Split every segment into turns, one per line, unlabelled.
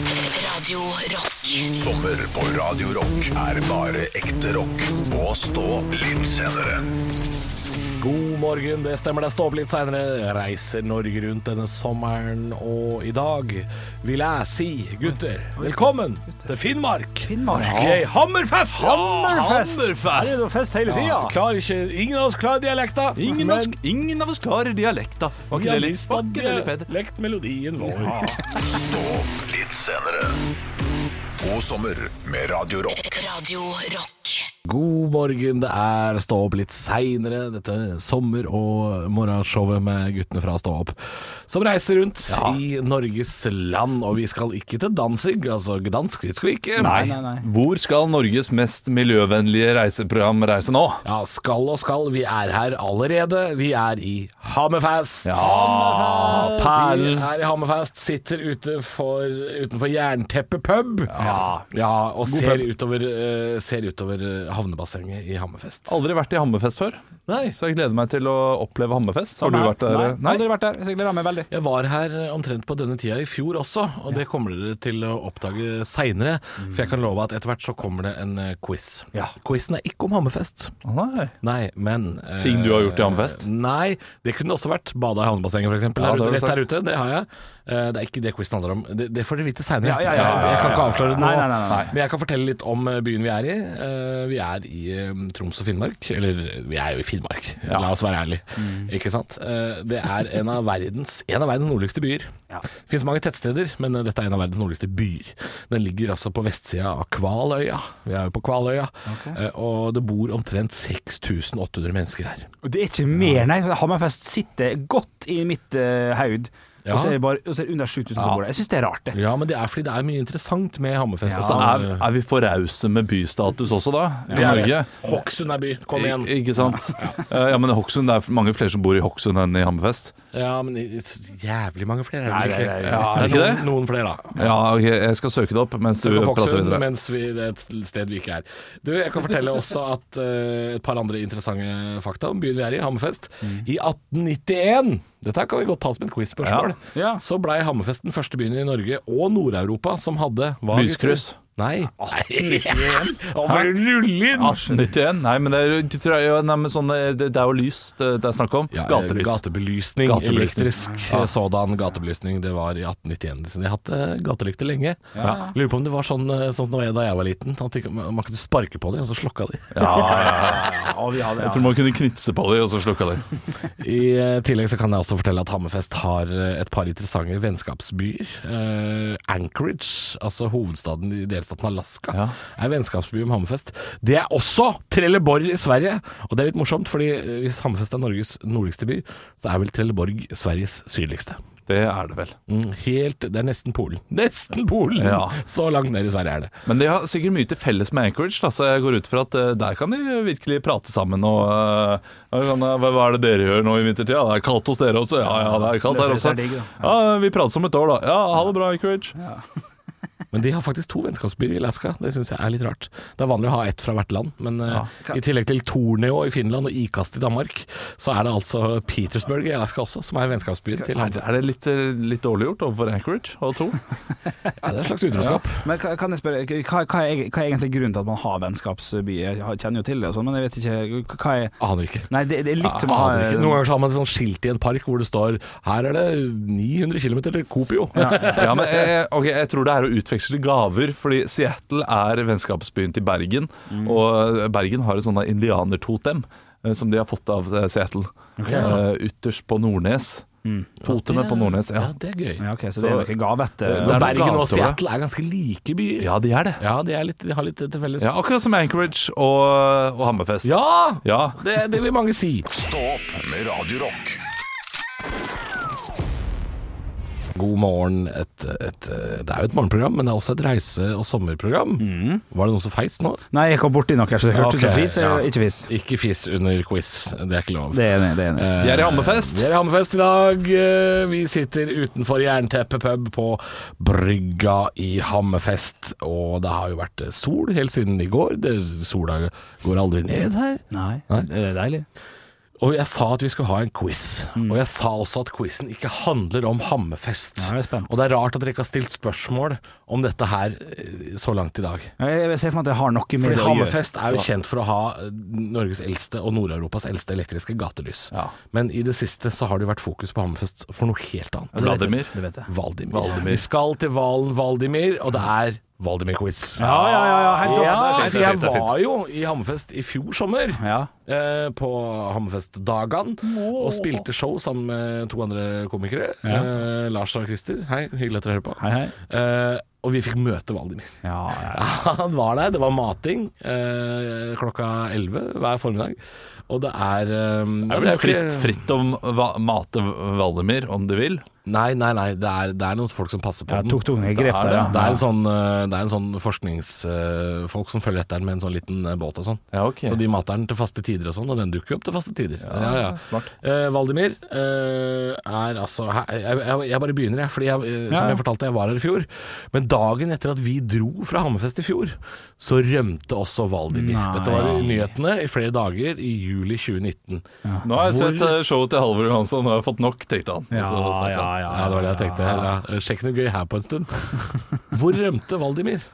Radio Rock.
Sommer på Radio Rock er bare ekte rock. Og stå litt senere.
God morgen, det stemmer. Det står opp litt seinere. Reiser Norge rundt denne sommeren, og i dag vil jeg si, gutter, velkommen til Finnmark!
Finnmark.
Jeg hammerfest!
Hammerfest!
Ah, Hammerfest!
Det er jo fest hele tida.
Ja, Klarer ikke, ingen av oss klarer dialekta.
Ingen, av, oss- ingen av oss klarer dialekta. Var
vi
ikke det
har
litt,
visst
var ikke det litt
at
bedre?
vi lekt melodien vår.
Stå opp litt senere. God sommer med Radio Rock.
Radio Rock.
God morgen, det er Stå opp litt seinere, dette sommer- og morgenshowet med guttene fra Stå opp, som reiser rundt i Norges land. Og vi skal ikke til Danzig, altså Gdansk, dit skal vi ikke.
nei, nei.
Hvor skal Norges mest miljøvennlige reiseprogram reise nå?
Ja, skal og skal, vi er her allerede. Vi er i Hammerfest. Vi
Perlen.
er i Hammerfest, sitter ute for, utenfor Jernteppet pub. Ja, og ser
pub.
utover, eh, ser utover eh, havnebassenget i Hammerfest.
Aldri vært i Hammerfest før,
Nei,
så jeg gleder meg til å oppleve Hammerfest. Har du
Nei,
vært der?
Nei, aldri vært der. Så jeg gleder meg veldig.
Jeg var her eh, omtrent på denne tida i fjor også, og det kommer dere til å oppdage seinere. For jeg kan love at etter hvert så kommer det en eh, quiz.
Mm. Ja.
Quizen er ikke om Hammerfest.
Å, nei.
Nei, men eh,
Ting du har gjort i Hammerfest?
Nei, det kunne også vært bada i havnebassenget, f.eks.
Ja,
Ja,
det har du
rett
sagt.
der ute. Det har jeg. Eh, det er ikke det quizen handler om. Det, det får dere vite seinere.
Ja, ja, ja, ja, ja,
Jeg kan ikke avsløre det nå.
Nei, nei, nei, nei.
Men jeg kan fortelle litt om eh, byen vi er i. Eh, vi er i eh, Troms og Finnmark. Eller vi er jo i Finnmark, la oss være ærlige.
Mm.
Ikke sant? Eh, det er en av verdens, en av verdens nordligste byer. Det finnes mange tettsteder, men eh, dette er en av verdens nordligste byer. Den ligger altså på vestsida av Kvaløya. Vi er jo på Kvaløya. Eh, og det bor omtrent 6800 mennesker her.
Og det er ikke mer, nei. Hammerfest sitter godt i mitt eh, haud.
Ja.
Og så er det bare og så er det under 7000 som bor der. Jeg syns det er rart, det.
Ja, men det er fordi det er mye interessant med Hammerfest. sånn, eh,
Så
også.
er, er vi for rause med bystatus også, da? I
Ja,
Norge?
Hokksund er by, kom igjen.
I, ikke sant? Eh, Ja, men Hokksund, det er mange flere som bor i Hokksund enn i Hammerfest.
Ja, men i- i- så jævlig mange flere er
Nei,
det
det er-
ikke.
det er-
Ja,
Er det ikke
noen, noen flere, da.
Ja, ok, jeg skal søke det opp mens du
Søk opp
prater
Hokksund,
videre.
mens vi, det er et sted vi ikke er. Du, jeg kan fortelle også at eh, et par andre interessante fakta om byen vi er i, Hammerfest.
Mm.
I 1891 dette her kan vi godt ta som et quiz-spørsmål.
Ja. Ja.
Så blei Hammerfest den første byen i Norge og Nord-Europa som hadde hva, gutter?
Lyskryss.
Nei. Nei. Hvorfor rulle inn?
1891? Nei, men det er, du tror, ja, nei, men sånn, det, det er jo lys det, det er snakk om.
Ja, eh,
Gatelys.
Gatebelysning.
Gatebelysning.
Elektrisk ja. sådan gatebelysning. Det var i 1891. Så de har hatt eh, gatelykter lenge. Lurer på om det var sånn, eh, sånn som det var da jeg var liten. At de, man kunne sparke på dem, og så slokka de.
Ja, og vi har det,
Jeg tror man kunne knipse på dem, og så slukka de.
I eh, tillegg så kan jeg også fortelle at Hammerfest har eh, et par interessante vennskapsbyer. Eh, Anchorage, altså hovedstaden i delstaten Alaska,
Ja.
er en vennskapsby om Hammerfest. Det er også Trelleborg i Sverige! Og det er litt morsomt, fordi eh, hvis Hammerfest er Norges nordligste by, så er vel Trelleborg Sveriges sydligste.
Det er det vel.
Mm, Helt, det er nesten Polen. Nesten Polen!
Ja.
Så langt ned i Sverige er det.
Men de har sikkert mye til felles med Anchorage, da, så jeg går ut fra at eh, der kan de virkelig prate sammen. Og, eh, ja, kan jeg- hva hva er det dere gjør nå i vintertida? Det er kaldt hos dere også? Ja, ja, det er kaldt her også.
Snøfreser er digg,
Ja, Vi prates om et år, da. Ja, ha det bra, Anchorage.
Men de har faktisk to vennskapsbyer i Alaska. Det syns jeg er litt rart. Det er vanlig å ha ett fra hvert land, men eh, i tillegg til Torneo i Finland og Ikast i Danmark, så er det altså Petersburg i Alaska også, som er vennskapsbyen til
Er det-
Hammerfest.
er det litt, eh, litt dårlig gjort overfor Anchorage å tro?
Ja, det er et slags utroskap.
Men ka- kan jeg spørre, hva, hva, er, hva er egentlig grunnen til at man har vennskapsbyer? Jeg har- kjenner jo til det, og sånn, men jeg vet ikke hva er
Aner ikke.
Nei, det, det er litt som å ha
Aner ikke. Noen ganger så har man et sånt skilt i en park hvor det står 'Her er det 900 km til Kopio'.
Ja, men jeg, ok, jeg tror det er å utveksle gaver, fordi Seattle er vennskapsbyen til Bergen, og eh, Bergen har et sånt indianertotem eh, som de har fått av eh, Seattle. Eh, ytterst på Nordnes. Totemet på Nordnes, Mm. ja.
Ja, det er gøy.
Ja, ok, så det er
Så-
noe eh. gavete
Det er
Og
noe
Bergen og
galt over det.
Seattle er ganske like byer.
Ja, de er det.
Ja, de, er litt, de har litt til felles.
Ja, akkurat som Anchorage og, og Hammerfest.
Ja!
Ja.
Det, det vil mange si.
Stå opp med Radio Rock.
God morgen. Et, et, det er jo et morgenprogram, men det er også et reise- og sommerprogram. Var det noen som feis nå?
Nei, jeg kom borti noe, her, så det hørtes ut som
Ok,
fis, eller
ja.
ikke fis.
Ikke fis under quiz. Det er ikke lov.
Det er enig, det er enig.
Eh,
Vi er i Hammerfest.
Vi er i Hammerfest i dag. Eh, Vi sitter utenfor Jernteppet pub på Brygga i Hammerfest. Og det har jo vært sol helt siden i går. Det, sola går aldri ned her.
Nei,
Nei.
det er deilig.
Og jeg sa at vi skulle ha en quiz.
Mm.
Og jeg sa også at quizen ikke handler om Hammerfest.
Nå er jeg spent.
og det er rart at dere ikke har stilt spørsmål om dette her eh, så langt i dag.
Jeg, jeg ser for meg at jeg har noe med
Fordi
det å gjøre.
Hammerfest er jo kjent for å ha eh, Norges eldste og Nord-Europas eldste elektriske gatelys.
Ja.
Men i det siste så har det jo vært fokus på Hammerfest for noe helt annet.
Vladimir.
Altså, Det vet jeg.
Valdimir. Vi skal til Valen Valdimir, og det er Valdimir-quiz.
Ja, ja, ja. ja helt
Ja,
opp.
fint,
for
det er
jeg
fint, det er fint.
var jo i Hammerfest i fjor sommer.
Ja.
eh, På Hammerfest-dagene. Og spilte show sammen med to andre komikere. Eh, Lars og Christer. Hei, hyggelig at dere hører på.
Hei, hei.
Eh, og vi fikk møte Valdimir.
Ja, ja.
Han var der. Det var mating eh, klokka elleve hver formiddag. Og det er eh,
Det er vel fritt, fritt om å mate Valdemir om du vil.
Nei, nei, nei. Det er, det er noen folk som passer på
Jeg
den.
tok tunge grep
er
der, ja.
det.
Det er en sånn, eh, det er en sånn forskningsfolk som følger etter den med en sånn liten eh, båt og sånn.
Ja, ok.
Så de mater den til faste tider og sånn, og den dukker jo opp til faste tider. Ja, ja.
smart.
Eh, Valdimir eh, er altså her- jeg, jeg, jeg bare begynner, jeg. Fordi jeg, eh, som
Ja.
jeg fortalte, jeg var her i fjor. Men dagen etter at vi dro fra Hammerfest i fjor, så rømte også Valdimir.
Nei.
Dette var i nyhetene i flere dager i juli 2019.
Nå har jeg
Hvor-
sett eh, showet til Halvor Johansson, nå har jeg fått nok, tenkte han. Og så stakk han.
Ja, det var det jeg tenkte. Ja, sjekk noe gøy her på en stund. Hvor rømte Valdimir?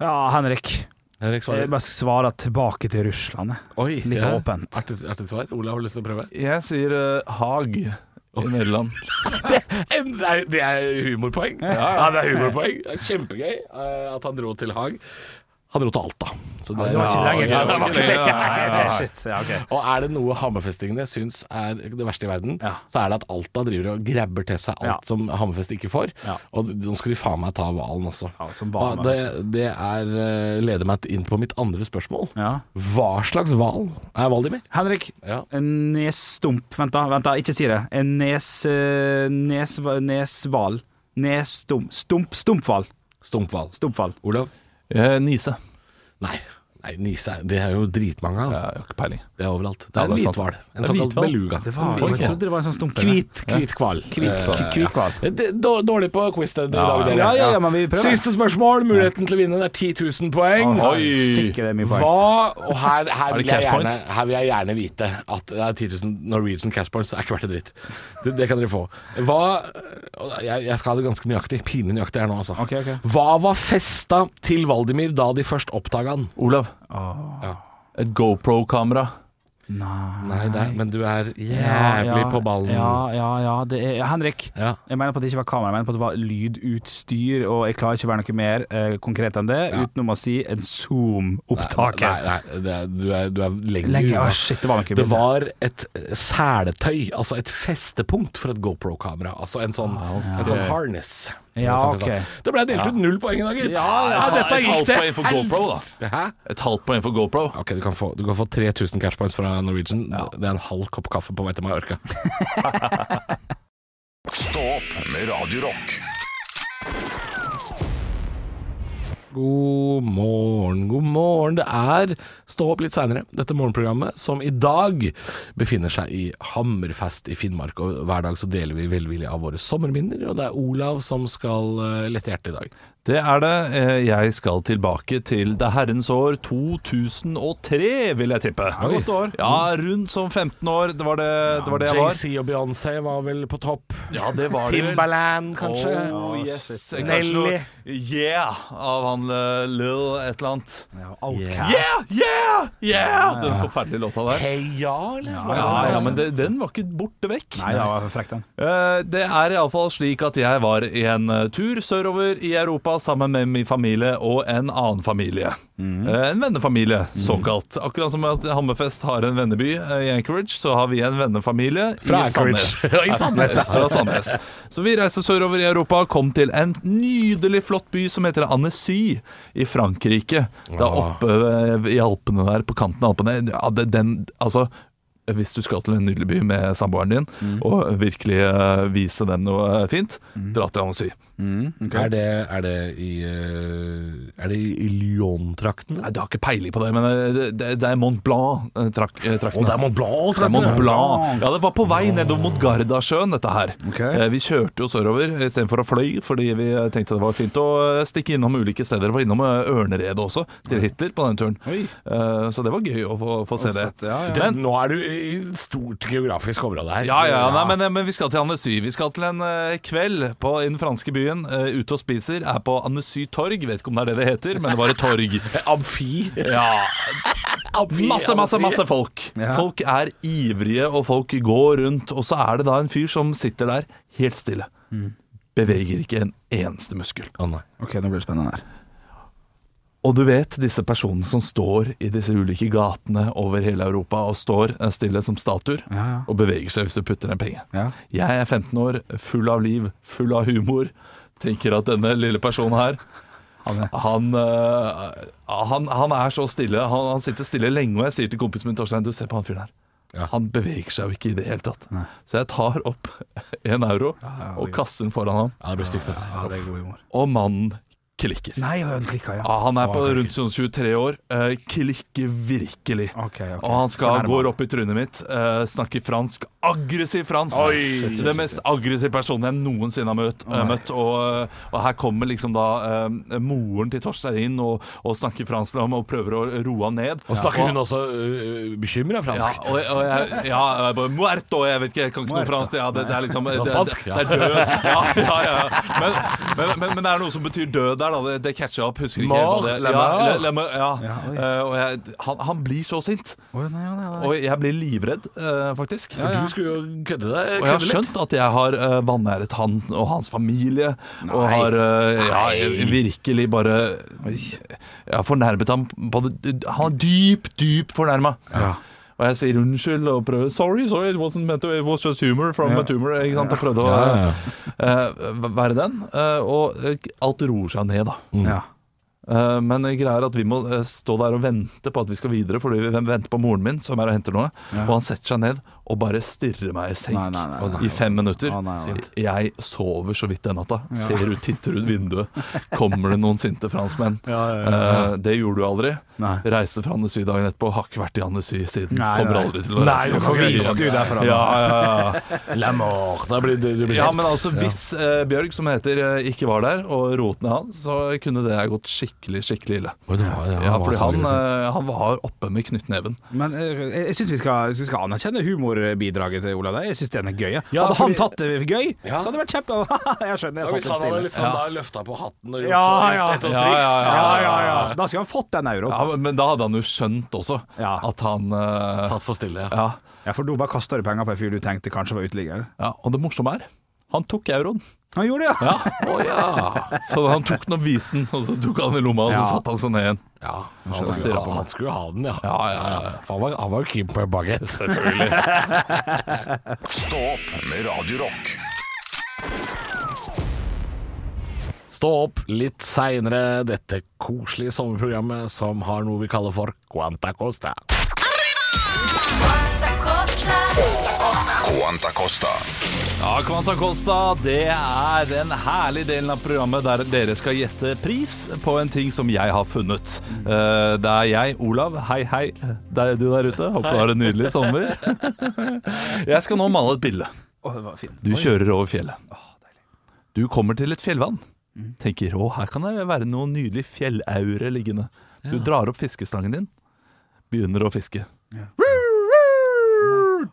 Ja, Henrik.
Henrik
Jeg
svarer.
Eh, bare svarer tilbake til Russland. jeg.
Oi,
Litt åpent.
Artig, artig svar. Ola, har du lyst til å prøve?
Jeg sier eh, Haag i Nederland.
Det er, det er humorpoeng. Ja, det er humorpoeng. Det er kjempegøy eh, at han dro til Haag. Han dro til Alta. Så det,
det var ikke lenger,
Ja,
det var
det var
ikke lenger,
lenger.
det er shit. Ja, ok.
Og er det noe Hammerfestingene syns er det verste i verden,
Ja.
så er det at Alta driver og grabber til seg alt
Ja.
som Hammerfest ikke får.
Ja.
Og nå skal de faen meg ta hvalen også.
Ja, som altså. hvalen,
Og det, det er, eh, leder meg inn på mitt andre spørsmål.
Ja.
Hva slags hval er Valdimir?
Henrik.
Ja.
En nesstump Vent, da. vent da, Ikke si det. En nes... eh, nes neshval. Nesstump Stump Stumphval.
Stumphval.
Stumpfall.
Olav?
Eh, Nise.
Nei. Nei, nise er- Det er jo dritmange av.
Ja, jeg har ikke peiling.
Det er overalt. Det er
Ja,
en
det er sant.
hvithval. En
Det er
såkalt
hvithval.
beluga.
Det var,
Oi,
jeg trodde det var en sånn stump.
Hvit, hvit kval.
Hvit- hvit hval.
Eh, det- dår- Dårlig på quiz det- i dag, dere.
Ja, ja, ja, men vi prøver.
Siste spørsmål. Muligheten til å vinne. Det er 10 000 poeng.
Oi!
Sikkert det er mye poeng.
Hva Og her, her,
det
vil jeg
cash
gjerne,
points?
her vil jeg gjerne vite at det er 10 000 Norwegian cash points Det er ikke verdt en dritt. Det, det kan dere få. Hva og jeg, jeg skal ha det ganske nøyaktig. Pinlig nøyaktig her nå, altså.
Ok, ok.
Hva var festa til Valdimir da de først oppdaga han?
Olav.
Ja.
Et GoPro-kamera.
Nei, det er, men du er jævlig
Ja,
på ballen.
Ja, ja, ja. Det er, Henrik.
Ja.
Jeg mener på at det ikke var kamera, jeg mener på at det var lydutstyr, og jeg klarer ikke å være noe mer eh, konkret enn det, utenom å si en
Nei,
Zoom-opptaker.
nei, det er, du, er, du er lenger
Legge,
unna.
å, shit, det var noe
Det
bilde.
var et eh, seletøy, altså et festepunkt for et GoPro-kamera. Altså en sånn, en sånn harness.
Ja,
Som vi sa.
Ah, ok.
Det ble delt ut null poeng i dag, gitt.
Ja, ja,
Et
dette gikk
halvt
det.
poeng for GoPro, da.
Hæ?
Et halvt poeng for GoPro.
Ok, du kan få, du kan få 3000 cash points fra Norwegian. Det er en halv kopp kaffe på vei til Mallorca.
Stå opp med Radio Rock.
God morgen, god morgen. Det er Stå opp litt seinere, dette morgenprogrammet som i dag befinner seg i Hammerfest i Finnmark. Og hver dag så deler vi velvillig av våre sommerminner, og det er Olav som skal eh, lette hjertet i dag.
Det er det. Eh, Jeg skal tilbake til det herrens år 2003, vil jeg tippe.
godt år.
Ja, rundt som 15 år. Det var det, det, var det jeg var.
JC og Beyoncé var vel på topp.
Ja, det var det vel.
Timbaland, kanskje.
Oh, yes.
shit.
Kanskje
Nelly.
noe Yeah! Av han eh, Lil et eller annet.
Ja, Outcast.
Yeah! Yeah! Yeah! Den forferdelige låta der.
Heia, eller?
Ja, ja, men det, den var ikke borte vekk.
Nei, det var frekk, den.
Eh, Det er iallfall slik at jeg var i en eh, tur sørover i Europa sammen med min familie og en annen familie.
Mhm.
Eh, En vennefamilie, såkalt. Akkurat som at Hammerfest har en venneby eh, i Anchorage, så har vi en vennefamilie
Fra
i Sandnes.
Anchorage. I Sandnes, ja.
Fra Sandnes. Så vi reiste sørover i Europa, kom til en nydelig flott by som heter Annecy i Frankrike. Det er oppe eh, i Alpene der, på kanten av Alpene. Ja, det, den, altså hvis du skal til en
Mm.
nydelig by med samboeren din og virkelig eh, vise dem noe fint, eh, dra til Annecy.
Er, det, er det i eh, Er det i Lyon-trakten?
Nei, Du har ikke peiling på det, men eh, det, det, det er Mont eh, Blanc-traktene.
Å, det er Mont
Det er
Blanc-trakten!
Mont
ja.
Blanc. Ja, det var på vei nedover mot Gardasjøen, dette her.
Ok.
Eh, Vi kjørte jo sørover istedenfor å fløy, fordi vi eh, tenkte det var fint å eh, stikke innom ulike steder. Vi var innom eh, Ørneredet også, til Hitler på den turen.
Oi.
Eh, Så det var gøy å få, få se det.
Sett, ja, ja.
Det-
Men,
Nå er du i stort geografisk område her.
ja, ja, nei, men, eh, men vi skal til Annecy. Vi skal til en eh, kveld på, i den franske byen. eh, Ute og spiser. Er på Annecy torg. Vet ikke om det er det det heter, men det var et torg.
Amfi.
Ja,
Amfi,
Masse, masse,
altså,
amfi.
masse folk. Folk er ivrige, og folk går rundt. Og så er det da en fyr som sitter der helt stille.
Mm.
Beveger ikke en eneste muskel.
Å, nei.
OK, nå blir det spennende her.
Og du vet disse personene som står i disse ulike gatene over hele Europa og står eh, stille som statuer
Ja, ja.
og beveger seg hvis du putter en penge.
Ja.
Jeg er 15 år, full av liv, full av humor. Tenker at denne lille personen her
Han er-
han, eh, han, han er så stille. Han, han sitter stille lenge, og jeg sier til kompisen min Torstein, du se på han fyren her.
Ja.
Han beveger seg jo ikke i det hele tatt. Så jeg tar opp en euro og kaster den foran ham,
Ja, det blir stygt, dette.
Ja, det er god humor.
og mannen klikker.
Nei, han klikka, ja.
Ja, han er på rundt sånn 23 år. eh, klikker virkelig.
Ok, ok.
Og han skal
Fornærma.
gå opp i trynet mitt, eh, snakke fransk. Aggressiv fransk!
Oi!
Den mest aggressive personen jeg noensinne har møtt. eh, møtt og, eh, og her kommer liksom da eh, moren til Torstein inn og, og snakker fransk til ham og prøver å roe han ned.
Og snakker hun også uh, bekymra
Ja,
fransk?
og, og jeg, ja, jeg bare, Muerto, jeg vet ikke, jeg kan ikke noe
Muerto.
fransk. Ja, det, det er liksom Det, det,
spansk,
det er død. Ja, ja, ja. Men, men, men, men det er noe som betyr død der, da. Det, det catcher jeg opp. Husker ikke helt hva det
Mort, la
ja,
mort.
le- le mort, ja.
Ja, oi.
Eh, og jeg, han, han blir så sint.
Oi, nei, nei, nei.
Og jeg blir livredd, eh, faktisk.
For du skulle jo kødde deg
Og jeg har
kødde litt.
skjønt at jeg har uh, vanæret han og hans familie. Og har eh, ja, jeg virkelig bare Jeg har fornærmet ham på det Han er dypt, dypt fornærma. Og jeg sier unnskyld og prøver Sorry, sorry, it wasn't meant to It was just humor from a tumor. Ikke sant? Og prøvde å
Ja,
eh, v- være den. eh, og eh, alt roer seg ned, da.
Ja.
Eh, Men greia er at vi må eh, stå der og vente på at vi skal videre, fordi vi venter på moren min, som er og henter noe. Og han setter seg ned og bare stirrer meg i senk
Nei, nei, nei, nei.
i fem minutter.
Å, nei, nei.
Jeg sover så vidt den natta. Ser ut, titter ut vinduet. Kommer det noen sinte franskmenn? Eh, Det gjorde du aldri.
Nei.
Reiste fra Annecy dagen etterpå. Har ikke vært i Annecy siden.
Nei,
Kommer
nei.
aldri til å
Nei,
reise til
du får
Annecy.
vise
du derfra.
Ja, ja, ja.
La mort. Da blir du, du blir
Ja,
helt-
men altså, hvis eh, Bjørg, som han heter, eh, ikke var der, og roten han, så kunne det gått skikkelig, skikkelig ille.
Oi, det var- det var-
Ja,
var
fordi
så sånn-
han,
aggressiv.
eh, han var oppe med knyttneven.
Men eh, jeg, jeg syns vi, skal- vi skal anerkjenne humorbidraget til Olav. der. Jeg syns den er gøy. Ja.
Ja,
hadde
fordi-
han tatt det gøy,
Ja.
så hadde det vært kjempe... jeg skjønner, jeg
Ja, hvis
satt
han
helt
hadde liksom
stille.
da løfta på hatten og gjort
Ja,
sånn,
ja.
et sånt
Ja,
triks
ja,
Ja, ja, ja. Da skulle han fått den euroen.
Ja, Men da hadde han jo skjønt også
Ja.
at han eh,
Satt for stille.
ja,
Ja, for da bare kasta du penger på en fyr du tenkte kanskje var uteligger.
ja, Og det morsomme er han tok euroen.
Han gjorde det, ja!
Ja, å ja. Så han tok den og viste den, og så tok han den i lomma, og så
Ja.
satt han seg ned igjen.
Ja, han,
skjønner.
skulle, ha- han skulle jo ha den, ja.
Ja, ja, ja.
For Han var, han var jo keen på en bagett.
Stå opp med Radio Rock.
Stå opp litt seinere, dette koselige sommerprogrammet som har noe vi kaller for Quanta Costa.
Quanta Costa.
Ja, Quanta Costa, det er den herlige delen av programmet der dere skal gjette pris på en ting som jeg har funnet. Eh, Det er jeg, Olav. Hei, hei. Det er du der ute. Håper du har en nydelig sommer. Jeg skal nå male et bilde.
Å, det var fint.
Du kjører over fjellet. Du kommer til et fjellvann. Tenker å, her kan det være noe nydelig fjellaure liggende. Du drar opp fiskestangen din, begynner å fiske.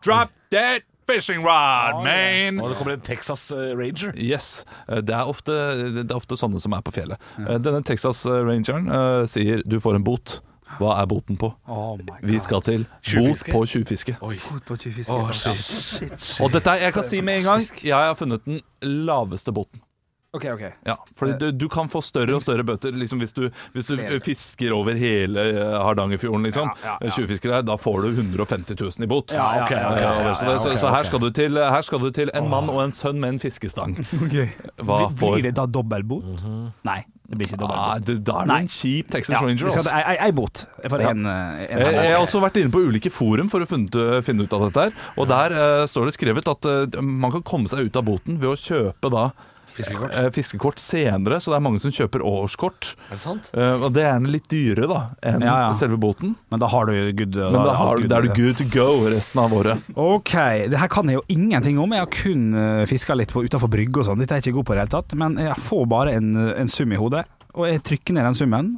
Drop that fishing rod, man!
Og det kommer en Texas eh, Ranger.
Yes, eh, det er, ofte, det er ofte sånne som er på fjellet. Eh, Denne Texas eh, Rangeren eh, sier du får en bot. Hva er boten på?
Oh my
Vi skal til bot
Tjuvfiske?
på tjuvfiske.
god på tjuvfiske.
Og dette er- jeg kan si med en gang, jeg har funnet den laveste boten.
OK, OK.
Ja, fordi du, du kan få større og større bøter liksom hvis, du, hvis du fisker over hele eh, Hardangerfjorden. Liksom.
Ja, ja, ja.
Tjuvfisker der, da får du 150 000 i bot.
Ja, ja, ja, ja,
Eh,
ja,
så,
ja,
det, så,
ok,
så her skal du til, her skal du til en mann og en sønn med en fiskestang. Hva får Mhm.
Blir det da dobbeltbot? Nei, det blir ikke
Ah,
dobbeltbot.
du, da er du
Nei.
en kjip Texas
Ja, vi
Ranger.
skal
ass.
ha ei- ei- ei bot for
Ja.
en, en
Eh, Jeg har også vært inne på ulike forum for å funne, finne eh, ut av dette. her Og der eh, står det skrevet at eh, man kan komme seg ut av boten ved å kjøpe da
Fiskekort.
eh, fiskekort senere, så det er mange som kjøper årskort.
Er det sant?
Eh, og det er gjerne litt dyrere da enn
Ja, ja.
selve boten.
Men da har du good
Men da, har, du- da er du good to go resten av året.
Ok, det her kan jeg jo ingenting om. Jeg har kun eh, fiska litt på utenfor brygge og sånn. Dette er jeg ikke god på i det hele tatt. Men jeg får bare en, en sum i hodet, og jeg trykker ned den summen.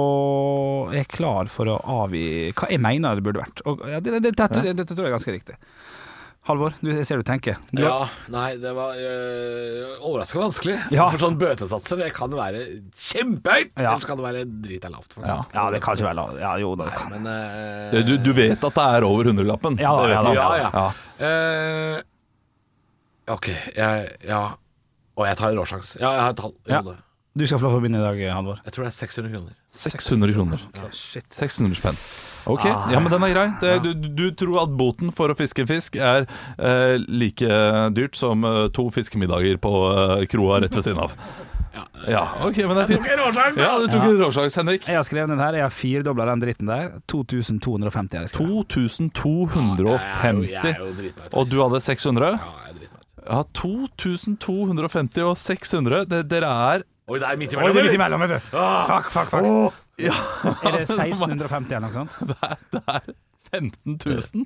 Og jeg er klar for å avgi hva jeg mener det burde vært. Og, ja, det, det, dette- dette tror jeg er ganske riktig. Halvor, du, jeg ser du tenker. Du,
Ja, nei, det var øh, overraskende vanskelig.
Ja.
For sånne bøtesatser det kan være kjempehøyt,
Ja.
eller så kan det være drita lavt. faktisk.
ja, det kan ikke være la- Ja, jo da. det
Nei,
kan.
men øh,
Eh, Du, du vet at det er over hundrelappen.
Ja,
Det vet
ja,
du.
Ja, ja. Eh, ok, jeg Ja. Og jeg tar en råsjanse. Ja, jeg har et tall i
Ja.
hodet.
Du skal få lov å begynne i dag, Halvor.
Jeg tror det er 600 kroner.
600 kroner.
Shit.
600 spenn. Ok, Ah. ja, men den er grei. Det, du, du du tror at boten for å fiske en fisk er eh, like dyrt som eh, to fiskemiddager på eh, kroa rett ved siden av. Ja, ok, men det er fint. Ja, du tok en råsjans, Henrik.
Jeg har skrevet den her. Jeg har firedobla den dritten der. 2250 har jeg skrevet.
2250.
Jeg er jo dritmøtt.
Og du hadde 600?
Ja, jeg er dritmøtt.
Ja, 2250 og 600. Det, dere er
Oi, det er midt
Oi,
imellom.
det er
eller?
midt imellom, vet du. Fuck, fuck, fuck.
ja,
Er det 1650 eller noe sånt?
det er 15 000.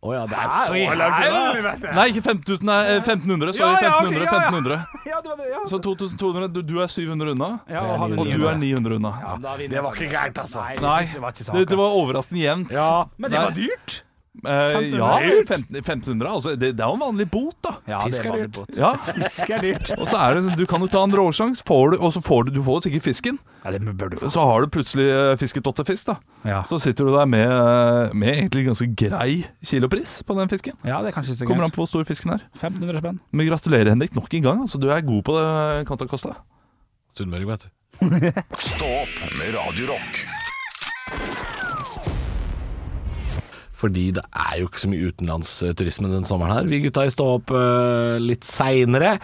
Å ja, det er
Hæ? Oi,
så langt
helvete!
unna!
Nei, ikke 5000, nei, eh, 1500. Sorry,
Ja, ja, ok, ja,
1500.
ja.
1500.
Ja, det var det, ja.
Så 2200, du, du er 700 unna,
Ja, og han er
og du
900.
er 900 unna.
Det var ikke gærent, altså.
Nei,
det var ikke saken.
det, det var overraskende jevnt.
Men det
Nei.
var dyrt.
Eh,
1500.
ja, 15 1500, altså, det, det er jo en vanlig bot, da.
Ja,
Fisk er dyrt.
dyrt.
Ja.
Fisk er dyrt.
Og så er det, sånn, Du kan jo ta en råsjans, får du- og så får du, du får sikkert fisken.
Ja, det bør du få.
Så har du plutselig eh, fisket åtte fisk, da.
Ja,
Så sitter du der med, eh, med egentlig ganske grei kilopris på den fisken.
ja det er kanskje ikke så
Kommer an
gærent.
på hvor stor fisken er.
1500 spenn.
Men gratulerer, Henrik, nok en gang. Altså, du er god på det, Kanta Costa.
Sunnmøre, vet du.
Stå opp med Radio Rock.
Fordi det er jo ikke så mye utenlandsturisme den sommeren her. Vi gutta i Stå opp eh, litt seinere.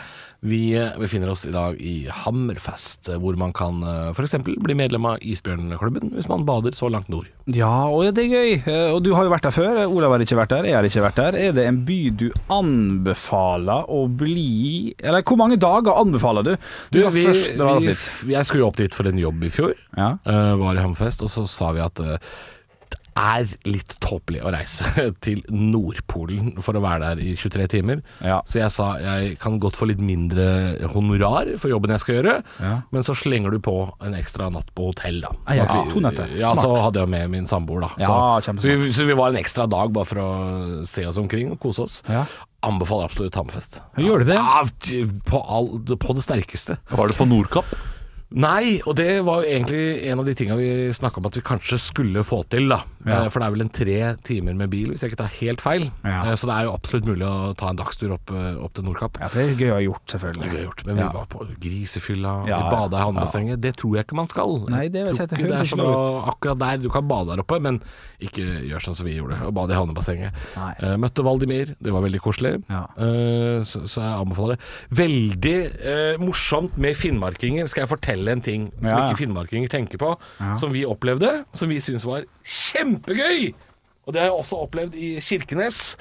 Vi eh, befinner oss i dag i Hammerfest, eh, hvor man kan uh, f.eks. bli medlem av Isbjørnklubben hvis man bader så langt nord.
Ja, og det er gøy. Eh, Og du har jo vært der før. Eh, Olav har ikke vært der, jeg har ikke vært der. Er det en by du anbefaler å bli Eller hvor mange dager anbefaler du? Du skal
vi,
først dra opp
vi,
litt.
jeg skulle jo opp dit for en jobb i fjor.
Ja.
Eh, var i Hammerfest, og så sa vi at eh, det er litt tåpelig å reise til Nordpolen for å være der i 23 timer.
Ja.
Så jeg sa jeg kan godt få litt mindre honorar for jobben jeg skal gjøre,
Ja.
men så slenger du på en ekstra natt på hotell, da.
Ah, ja,
Sånn at vi-
to netter.
Ja, så
Smart.
hadde jeg med min samboer, da.
Ja,
så,
kjempesmart.
så, vi, så vi var en ekstra dag bare for å se oss omkring og kose oss.
Ja.
Anbefaler absolutt Hammerfest.
Gjør du det?
Ja, på, all, på det sterkeste.
Var det på Nordkapp?
Nei, og det var jo egentlig en av de tinga vi snakka om at vi kanskje skulle få til, da.
Ja.
Eh, For det er vel en tre timer med bil, hvis jeg ikke tar helt feil.
Ja.
Eh, Så det er jo absolutt mulig å ta en dagstur opp, eh, opp til Nordkapp.
ja, for det er gøy å ha gjort,
Det
selvfølgelig.
har jeg gjort, men vi
Ja.
var på grisefylla,
Ja, ja.
vi bada i handlebassenget. Det tror jeg ikke man skal.
Nei, det vet
tror
jeg ikke.
ikke det
Høres
er så
ikke bra
bra akkurat der. Du kan bade der oppe, men ikke gjør sånn som vi gjorde, og bade i handlebassenget.
Nei.
Eh, møtte Valdimir, det var veldig koselig.
Ja.
Eh, så, så jeg anbefaler det. Veldig eh, morsomt med finnmarkinger. Skal jeg fortelle en ting som
Ja, ja.
ikke finnmarkinger tenker på, som vi opplevde, som vi syntes var kjempegøy! Og det har jeg også opplevd i Kirkenes.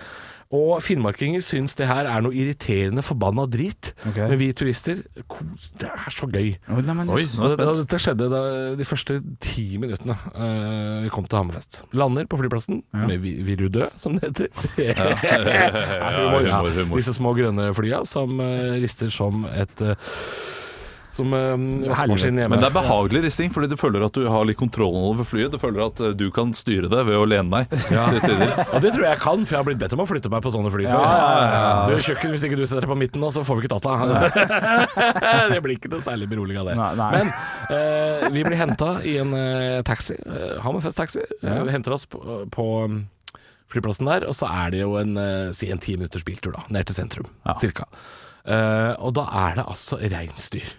Og finnmarkinger syns det her er noe irriterende forbanna drit.
Ok.
Men vi turister kos, Det er så gøy.
Oi, nei, men-
nå er jeg spent.
Dette skjedde da, de første ti minuttene eh, vi kom til Hammerfest. Lander på flyplassen med vi- Virudø, som det heter. Ja, humor, ja.
humor, humor.
Disse små grønne flya som eh, rister som et eh, Som uh, vaskemaskin hjemme.
Men det er behagelig risting, fordi du føler at du har litt kontrollen over flyet. Du føler at eh, du kan styre det ved å lene deg til sider.
Og det tror jeg jeg kan, for jeg har blitt bedt om å flytte meg på sånne fly før. Du er kjøkken, hvis ikke du setter deg på midten nå, så får vi ikke tatt deg. det blir ikke noe særlig beroliget av det.
Nei, nei.
Men eh, vi blir henta i en eh, taxi, uh, Hammerfest-taxi. Eh, vi henter oss på, på um, flyplassen der, og så er det jo en, eh, si en ti minutters biltur da, ned til sentrum, cirka. Eh, og da er det altså reinsdyr.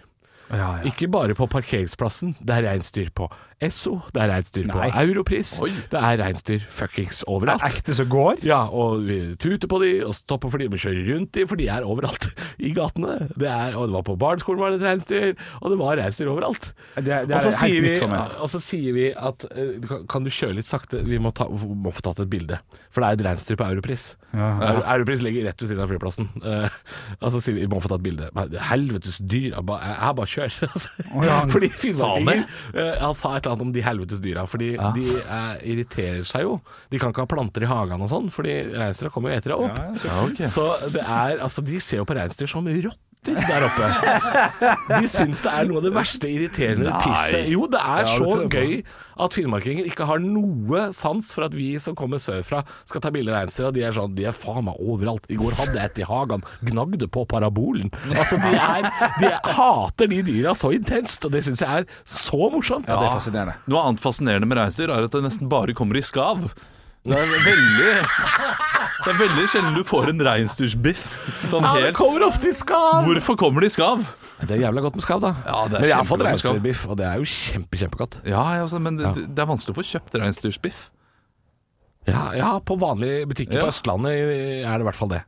Ja, ja.
Ikke bare på parkeringsplassen, det er reinsdyr på Esso, det er reinsdyr på
Nei.
Europris,
Oi.
det er reinsdyr fuckings
Det
overalt.
er ekte som går.
Ja, og vi tuter på de, og stopper for de, og kjører rundt de, for de er overalt i gatene. Det er, og det var på barneskolen var det et reinsdyr, og det var reinsdyr overalt.
Det, det er
Og så
helt
sier, vi-
nytt for meg.
og så sier vi at eh, du kan- kan du kjøre litt sakte, vi må, ta, må få tatt et bilde. For det er et reinsdyr på Europris. Euro- Europris ligger rett ved siden av flyplassen. Eh, og så sier vi vi må få tatt et bilde. Men Helvetes dyr, jeg bare, jeg bare kjør. altså.
ja, han
fordi
sa
finnmarkinger eh, Han sa et eller annet om de helvetes dyra, fordi de eh, irriterer seg jo. De kan ikke ha planter i hagene og sånn, fordi reinsdyra kommer jo og eter deg opp.
Ja, ok.
Så det er, altså de ser jo på reinsdyr som rotter der oppe. De syns det er noe av det verste irriterende pisset. Jo, det er så
det tror jeg på.
gøy at finnmarkinger ikke har noe sans for at vi som kommer sørfra skal ta bilde av reinsdyr, og de er sånn De er faen meg overalt. I går hadde jeg et i hagen, gnagde på parabolen. Altså, de er De hater de dyra så intenst, og det syns jeg er så morsomt.
Det er fascinerende.
Noe annet fascinerende med reinsdyr er at det nesten bare kommer i skav. Det er veldig Det er veldig sjelden du får en reinsdyrsbiff. Sånn
Ja, det
helt
kommer ofte i skav!
Hvorfor kommer de i skav?
Det er jævla godt med skav, da.
Ja, det er
Men jeg har fått
kjempegodt med skav.
reinsdyrbiff, og det er jo kjempe, kjempegodt.
Ja, ja, altså, men det, det er vanskelig å få kjøpt reinsdyrsbiff.
Ja, ja på vanlige butikker
Ja.
på Østlandet er det i hvert fall det.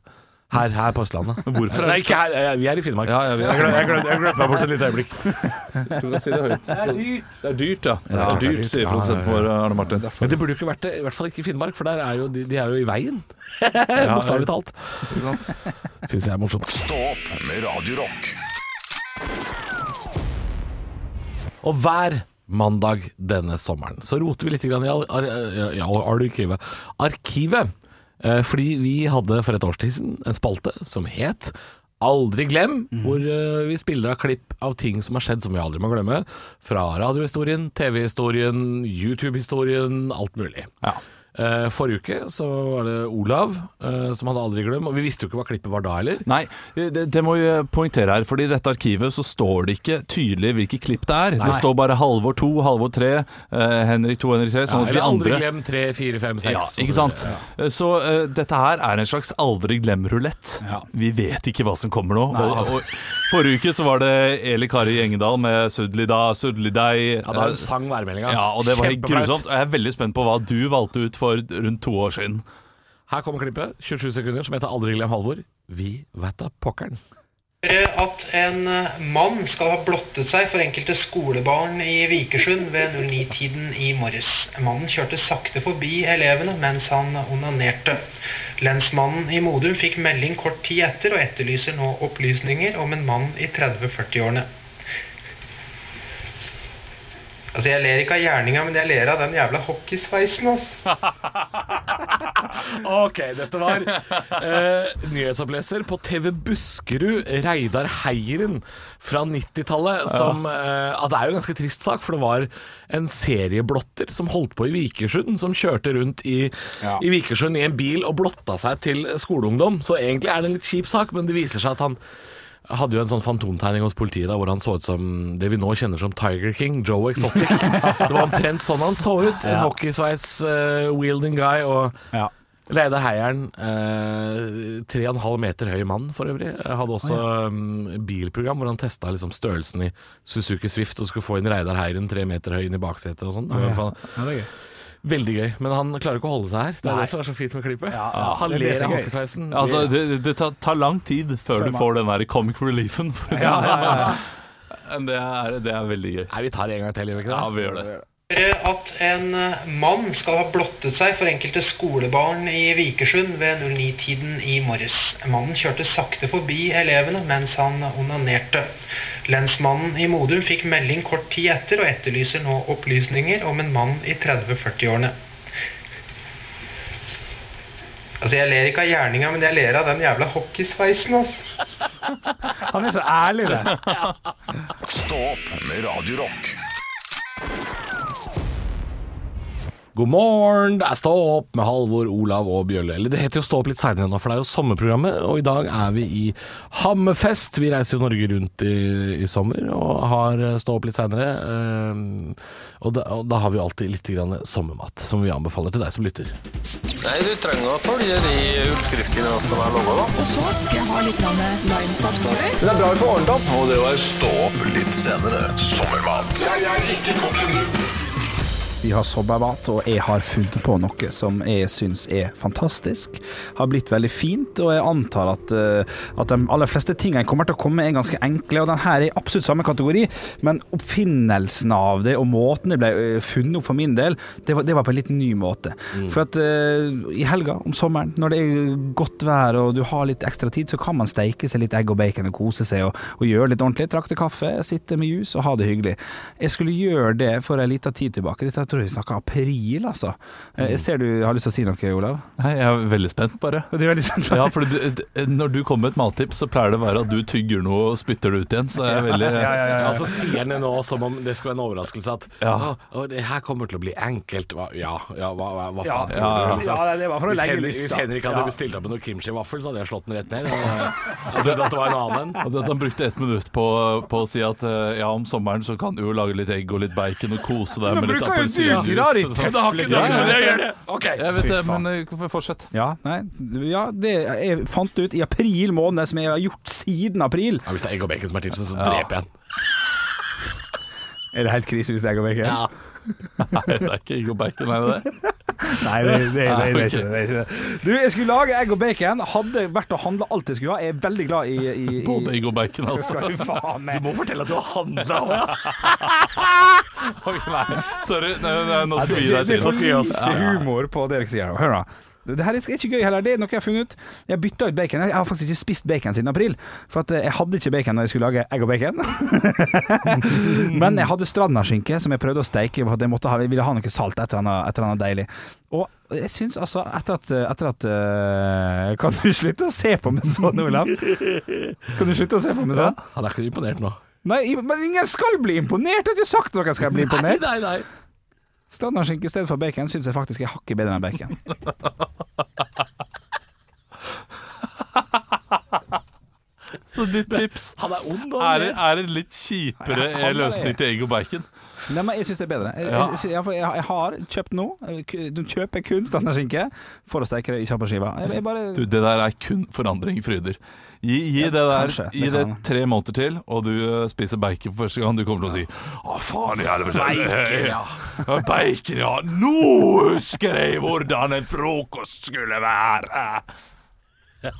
Her, her på Østlandet.
Hvorfor er
Nei,
det-
ikke her. eh, Vi er i Finnmark.
Ja, ja, vi er-
Jeg glem- Jeg glem- jeg glemte meg bort et lite øyeblikk.
Det er dyrt. Det er dyrt, ja. Det
klart det
er
er
dyrt,
dyrt.
sier
Ja, ja, ja.
produsenten vår Arne Martin.
Men det burde jo ikke vært det, i hvert fall ikke i Finnmark, for der er jo de, de er jo i veien. Bokstavelig talt.
Ikke sant?
Syns jeg er morsomt.
Stå opp med Radio Rock.
Og hver mandag denne sommeren så roter vi litt grann i, al ar i al arkivet. Arkivet. Eh, fordi vi hadde for et års tid siden en spalte som het Aldri glem,
Mhm.
hvor eh, vi spiller av klipp av ting som har skjedd som vi aldri må glemme. Fra radiohistorien, TV-historien, YouTube-historien, alt mulig. Eh, forrige uke så var det Olav eh, som hadde aldri glem, og vi visste jo ikke hva klippet var da heller.
Nei, det, det må vi poengtere her, fordi i dette arkivet så står det ikke tydelig hvilke klipp det er. Det står bare Halvor 2, Halvor 3, eh, Henrik 2, Henrik 3,
Ja,
sånn at vi
eller aldri
andre
glem 3, 4, 5, 6.
ja, ikke sant? Så eh, dette her er en slags aldri glem-rulett. Vi vet ikke hva som kommer nå. Og, og forrige uke så var det Eli Kari Engedal med eh, 'Sudli da, sudli dei'.
Ja, da hun sang værmeldinga.
Ja, og det var helt grusomt. Og jeg er veldig spent på hva du valgte ut for rundt to år siden.
Her kommer klippet, 27 sekunder, som heter Aldri glem Halvor. Vi vet da pokkeren.
Hører at en eh, mann skal ha blottet seg for enkelte skolebarn i Vikersund ved 09-tiden i morges. Mannen kjørte sakte forbi elevene mens han onanerte. Lensmannen i Modum fikk melding kort tid etter og etterlyser nå opplysninger om en mann i 30-40-årene. Altså, jeg ler ikke av gjerninga, men jeg ler av den jævla hockeysveisen, altså.
Ok, dette var eh, nyhetsoppleser på TV Buskerud, Reidar Heieren fra 90-tallet. Som eh, at Det er jo en ganske trist sak, for det var en serieblotter som holdt på i Vikersund. Som kjørte rundt i, i Vikersund i en bil og blotta seg til skoleungdom. Så egentlig er det en litt kjip sak, men det viser seg at han hadde jo en sånn fantomtegning hos politiet da, hvor han så ut som det vi nå kjenner som Tiger King, Joe Exotic. Det var omtrent sånn han så ut. En hockeysveis, eh, wielding guy og
Ja.
Reidar Heieren, eh, tre og en halv meter høy mann for øvrig, hadde også mm, bilprogram hvor han testa liksom størrelsen i Suzuki Swift og skulle få inn Reidar Heieren tre meter høy inn i baksetet og sånn. Det var i hvert fall
det er gøy.
Veldig gøy. Men han klarer ikke å holde seg her. Det er det som er så fint med klippet. han
det er det
ler av
som er gøy.
hockeysveisen.
Altså, det, det tar, tar lang tid før du
man-
får den der comic reliefen. For å si det.
ja, ja,
Men det er, det er veldig gøy.
Nei, vi tar det en gang til, gjør vi ikke det?
Ja, vi gjør det.
Hører at en eh, mann skal ha blottet seg for enkelte skolebarn i Vikersund ved 09-tiden i morges. Mannen kjørte sakte forbi elevene mens han onanerte. Lensmannen i Modum fikk melding kort tid etter og etterlyser nå opplysninger om en mann i 30-40-årene. Altså, jeg ler ikke av gjerninga, men jeg ler av den jævla hockeysveisen, altså.
Han er så ærlig, det.
Stå opp med Radio Rock.
God morgen, det er Stå opp med Halvor, Olav og Bjølle. Eller det heter jo Stå opp litt seinere nå, for det er jo sommerprogrammet. Og i dag er vi i Hammerfest. Vi reiser jo Norge rundt i, i sommer og har eh, Stå opp litt seinere. og, da- og da har vi jo alltid litt grann sommermat, som vi anbefaler til deg som lytter.
Nei, du trenger å følge de utskriftene som er laga, da.
Og så skal jeg ha litt grann limesaft over.
Det er bra vi får ordnet opp.
Og det var Stå opp litt senere. Sommermat.
Vi har sommermat, og jeg har funnet på noe som jeg syns er fantastisk. Har blitt veldig fint, og jeg antar at, eh, at de aller fleste tingene kommer til å komme er ganske enkle, og den her er i absolutt samme kategori, men oppfinnelsen av det, og måten det ble eh, funnet opp for min del, det var, det var på en litt ny måte. For at eh, i helga, om sommeren, når det er godt vær og du har litt ekstra tid, så kan man steike seg litt egg og bacon og kose seg og, og gjøre litt ordentlig. Trakte kaffe, sitte med jus og ha det hyggelig. Jeg skulle gjøre det for en liten tid tilbake. Dette tror jeg vi snakka april, altså. Eh, Jeg ser du har lyst til å si noe, Olav.
Nei, jeg er veldig spent, bare.
Du er veldig spent.
Ja, for du, d- når du kommer med et mattips, så pleier det å være at du tygger noe og spytter det ut igjen. Så jeg er veldig
Ja, så sier han det nå som om det skulle være en overraskelse at
Ja.
«Å, å, det her kommer til å bli enkelt. Hva, ja, ja, hva, hva, hva
Ja,
faen
ja,
tror du?
ja.
liksom?
ja, det var for å
Hvis
legge
Henrik, hvis
lista.
Henrik hadde bestilt opp med noen kimchi-vaffel, så hadde jeg slått den rett ned. eh, Jeg trodde at det var en annen en.
Og det at Han brukte ett minutt på, på å si at eh, ja, om sommeren så kan du jo lage litt egg og litt bacon og kose deg med litt appelsinjuice. Sånn. Jeg vet det, men eh, f- fortsett.
Ja, nei, ja, det jeg fant det ut i april måned, som jeg har gjort siden april.
Ja, hvis det er egg og bacon som er tipset, så dreper jeg den.
Er det helt krise hvis jeg går vekk? Ja.
Nei, det er ikke egg og bacon, er det det?
Nei, det, det, det, det,
Nei,
er
ok.
ikke det, det er ikke det. Du, jeg skulle lage egg og bacon. Hadde vært å handle alt jeg skulle ha. Jeg er veldig glad i, i, i
Både egg og bacon, altså.
Skal du faen meg
må fortelle at du har handla òg, ja.
Ok, nei, sorry, nei, nei, nå skal vi gi
det,
deg
det er
til.
for lite humor på det dere sier. her. Hør da. Det her er ikke gøy heller, det er noe jeg har funnet ut. Jeg bytta ut bacon. Jeg har faktisk ikke spist bacon siden april, for at eh, jeg hadde ikke bacon når jeg skulle lage egg og bacon. Men jeg hadde strandaskinke som jeg prøvde å steike, for at jeg, måtte ha, jeg ville ha noe salt, et eller annet, et eller annet deilig. Og jeg syns altså, etter at, etter at eh, Kan du slutte å se på meg sånn, Olav? Kan du slutte å se på meg sånn?
Han er ikke imponert nå.
Nei, men ingen skal bli imponert! Jeg har ikke sagt noe skal bli imponert.
Nei, nei.
Standardskinke i stedet for bacon syns jeg faktisk er hakket bedre enn bacon.
Så ditt tips
Han er ond,
Sånn
er, det- er en litt kjipere
Han er det.
løsning til egg og bacon.
Nei, men jeg syns det er bedre. Jeg,
Ja.
jeg, sy- ja, for jeg, jeg har kjøpt nå eh, Du kjøper kun standardskinke for å steke det i kjappe skiver. Jeg, jeg bare
Du, det der er kun forandring, Fryder. Gi, gi det der
kanskje,
gi
det
det
kan jeg.
tre måneder til, og du eh, spiser bacon for første gang. Du kommer til å si 'Å, faen i helvete'. Bacon, ja. bacon, ja. Nå husker jeg hvordan en frokost skulle være. Det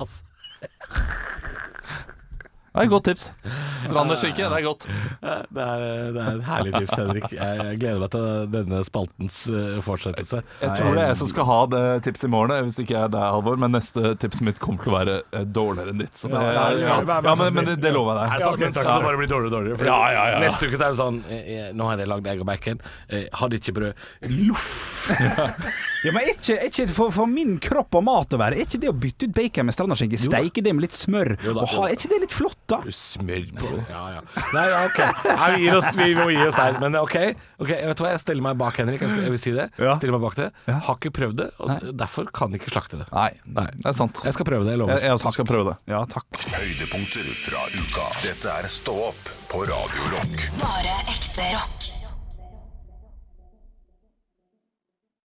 er et godt tips. Stranderskinke, det er godt.
Det er, det er et herlig tips, Henrik. Jeg, jeg gleder meg til denne spaltens eh, fortsettelse.
Jeg tror det er jeg som skal ha det tipset i morgen, hvis ikke jeg er deg, Halvor. Men neste tipset mitt kommer til å være eh, dårligere enn ditt. Så det,
ja, ja,
ja,
ja.
men, men det, det lover jeg deg.
Er det sant? Men så kan det bare bli dårligere og dårligere. For
Ja, ja, ja.
Neste uke så er det sånn eh, eh, Nå har jeg lagd egg og bacon. Eh, Hadde ikke brød. Loff!
ja, men er ikke, er ikke for, for min kropp og mat å være, er ikke det å bytte ut bacon med standardskinke, steike det med litt smør,
Jo da,
og
jo
ha,
da.
er ikke det litt flott, da?
Smør på Ja, ja. Nei, ja, ok. Nei, vi, gir oss, vi må gi oss der. Men eh, ok, ok, vet du hva? jeg stiller meg bak Henrik. Jeg, skal, jeg vil si det.
Ja.
Stiller meg bak det. Har ikke prøvd det, og derfor kan jeg ikke slakte det.
Nei, nei, det er sant. Jeg,
Jeg skal prøve det, jeg lover.
jeg også skal prøve det.
Ja, takk.
Høydepunkter fra uka. Dette er Stå opp på Radio Rock.
Bare ekte rock.